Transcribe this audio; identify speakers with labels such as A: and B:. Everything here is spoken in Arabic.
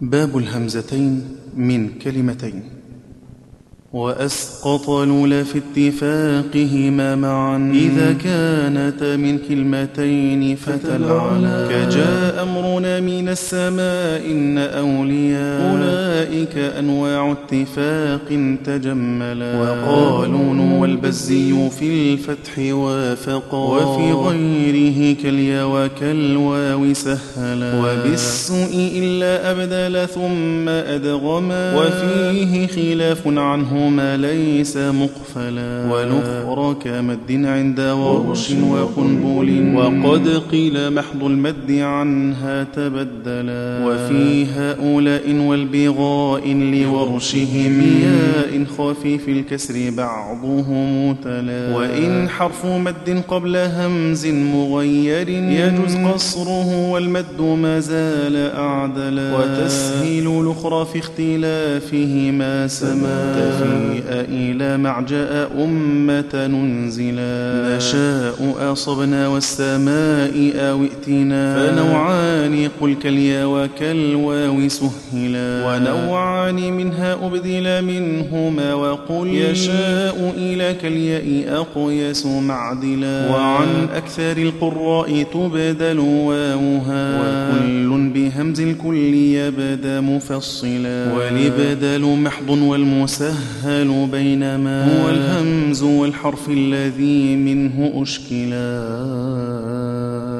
A: باب الهمزتين من كلمتين وأسقط لولا في اتفاقهما معا إذا كانتا من كلمتين فتلعلا كجاء أمرنا من السماء إن أولياء أولئك أنواع اتفاق تجملا وقالون والبزي في الفتح وافقا وفي غيره كاليا وكالواو سهلا وبالسوء إلا أبدل ثم أدغما وفيه خلاف عنه ما ليس مقفلا ونخر كمد عند ورش وقنبل وقد قيل محض المد عنها تبدلا وفي هؤلاء والبغاء لورشهم ياء خفيف الكسر بعضهم تلا وإن حرف مد قبل همز مغير يجوز قصره والمد ما زال أعدلا وتسهيل الأخرى في اختلافهما سما تفيء إلى معجأ أمة ننزلا نشاء أصبنا والسماء أو ائتنا فنوعان قل كاليا وكالواو سهلا ونوعان منها أبدل منهما وقل يشاء إلى كالياء أقيس معدلا وعن أكثر القراء تبدل واوها وكل بهمز الكل يبدا مفصلا والابدال محض والمسهل يتسهل بينما هو الهمز والحرف الذي منه أشكلا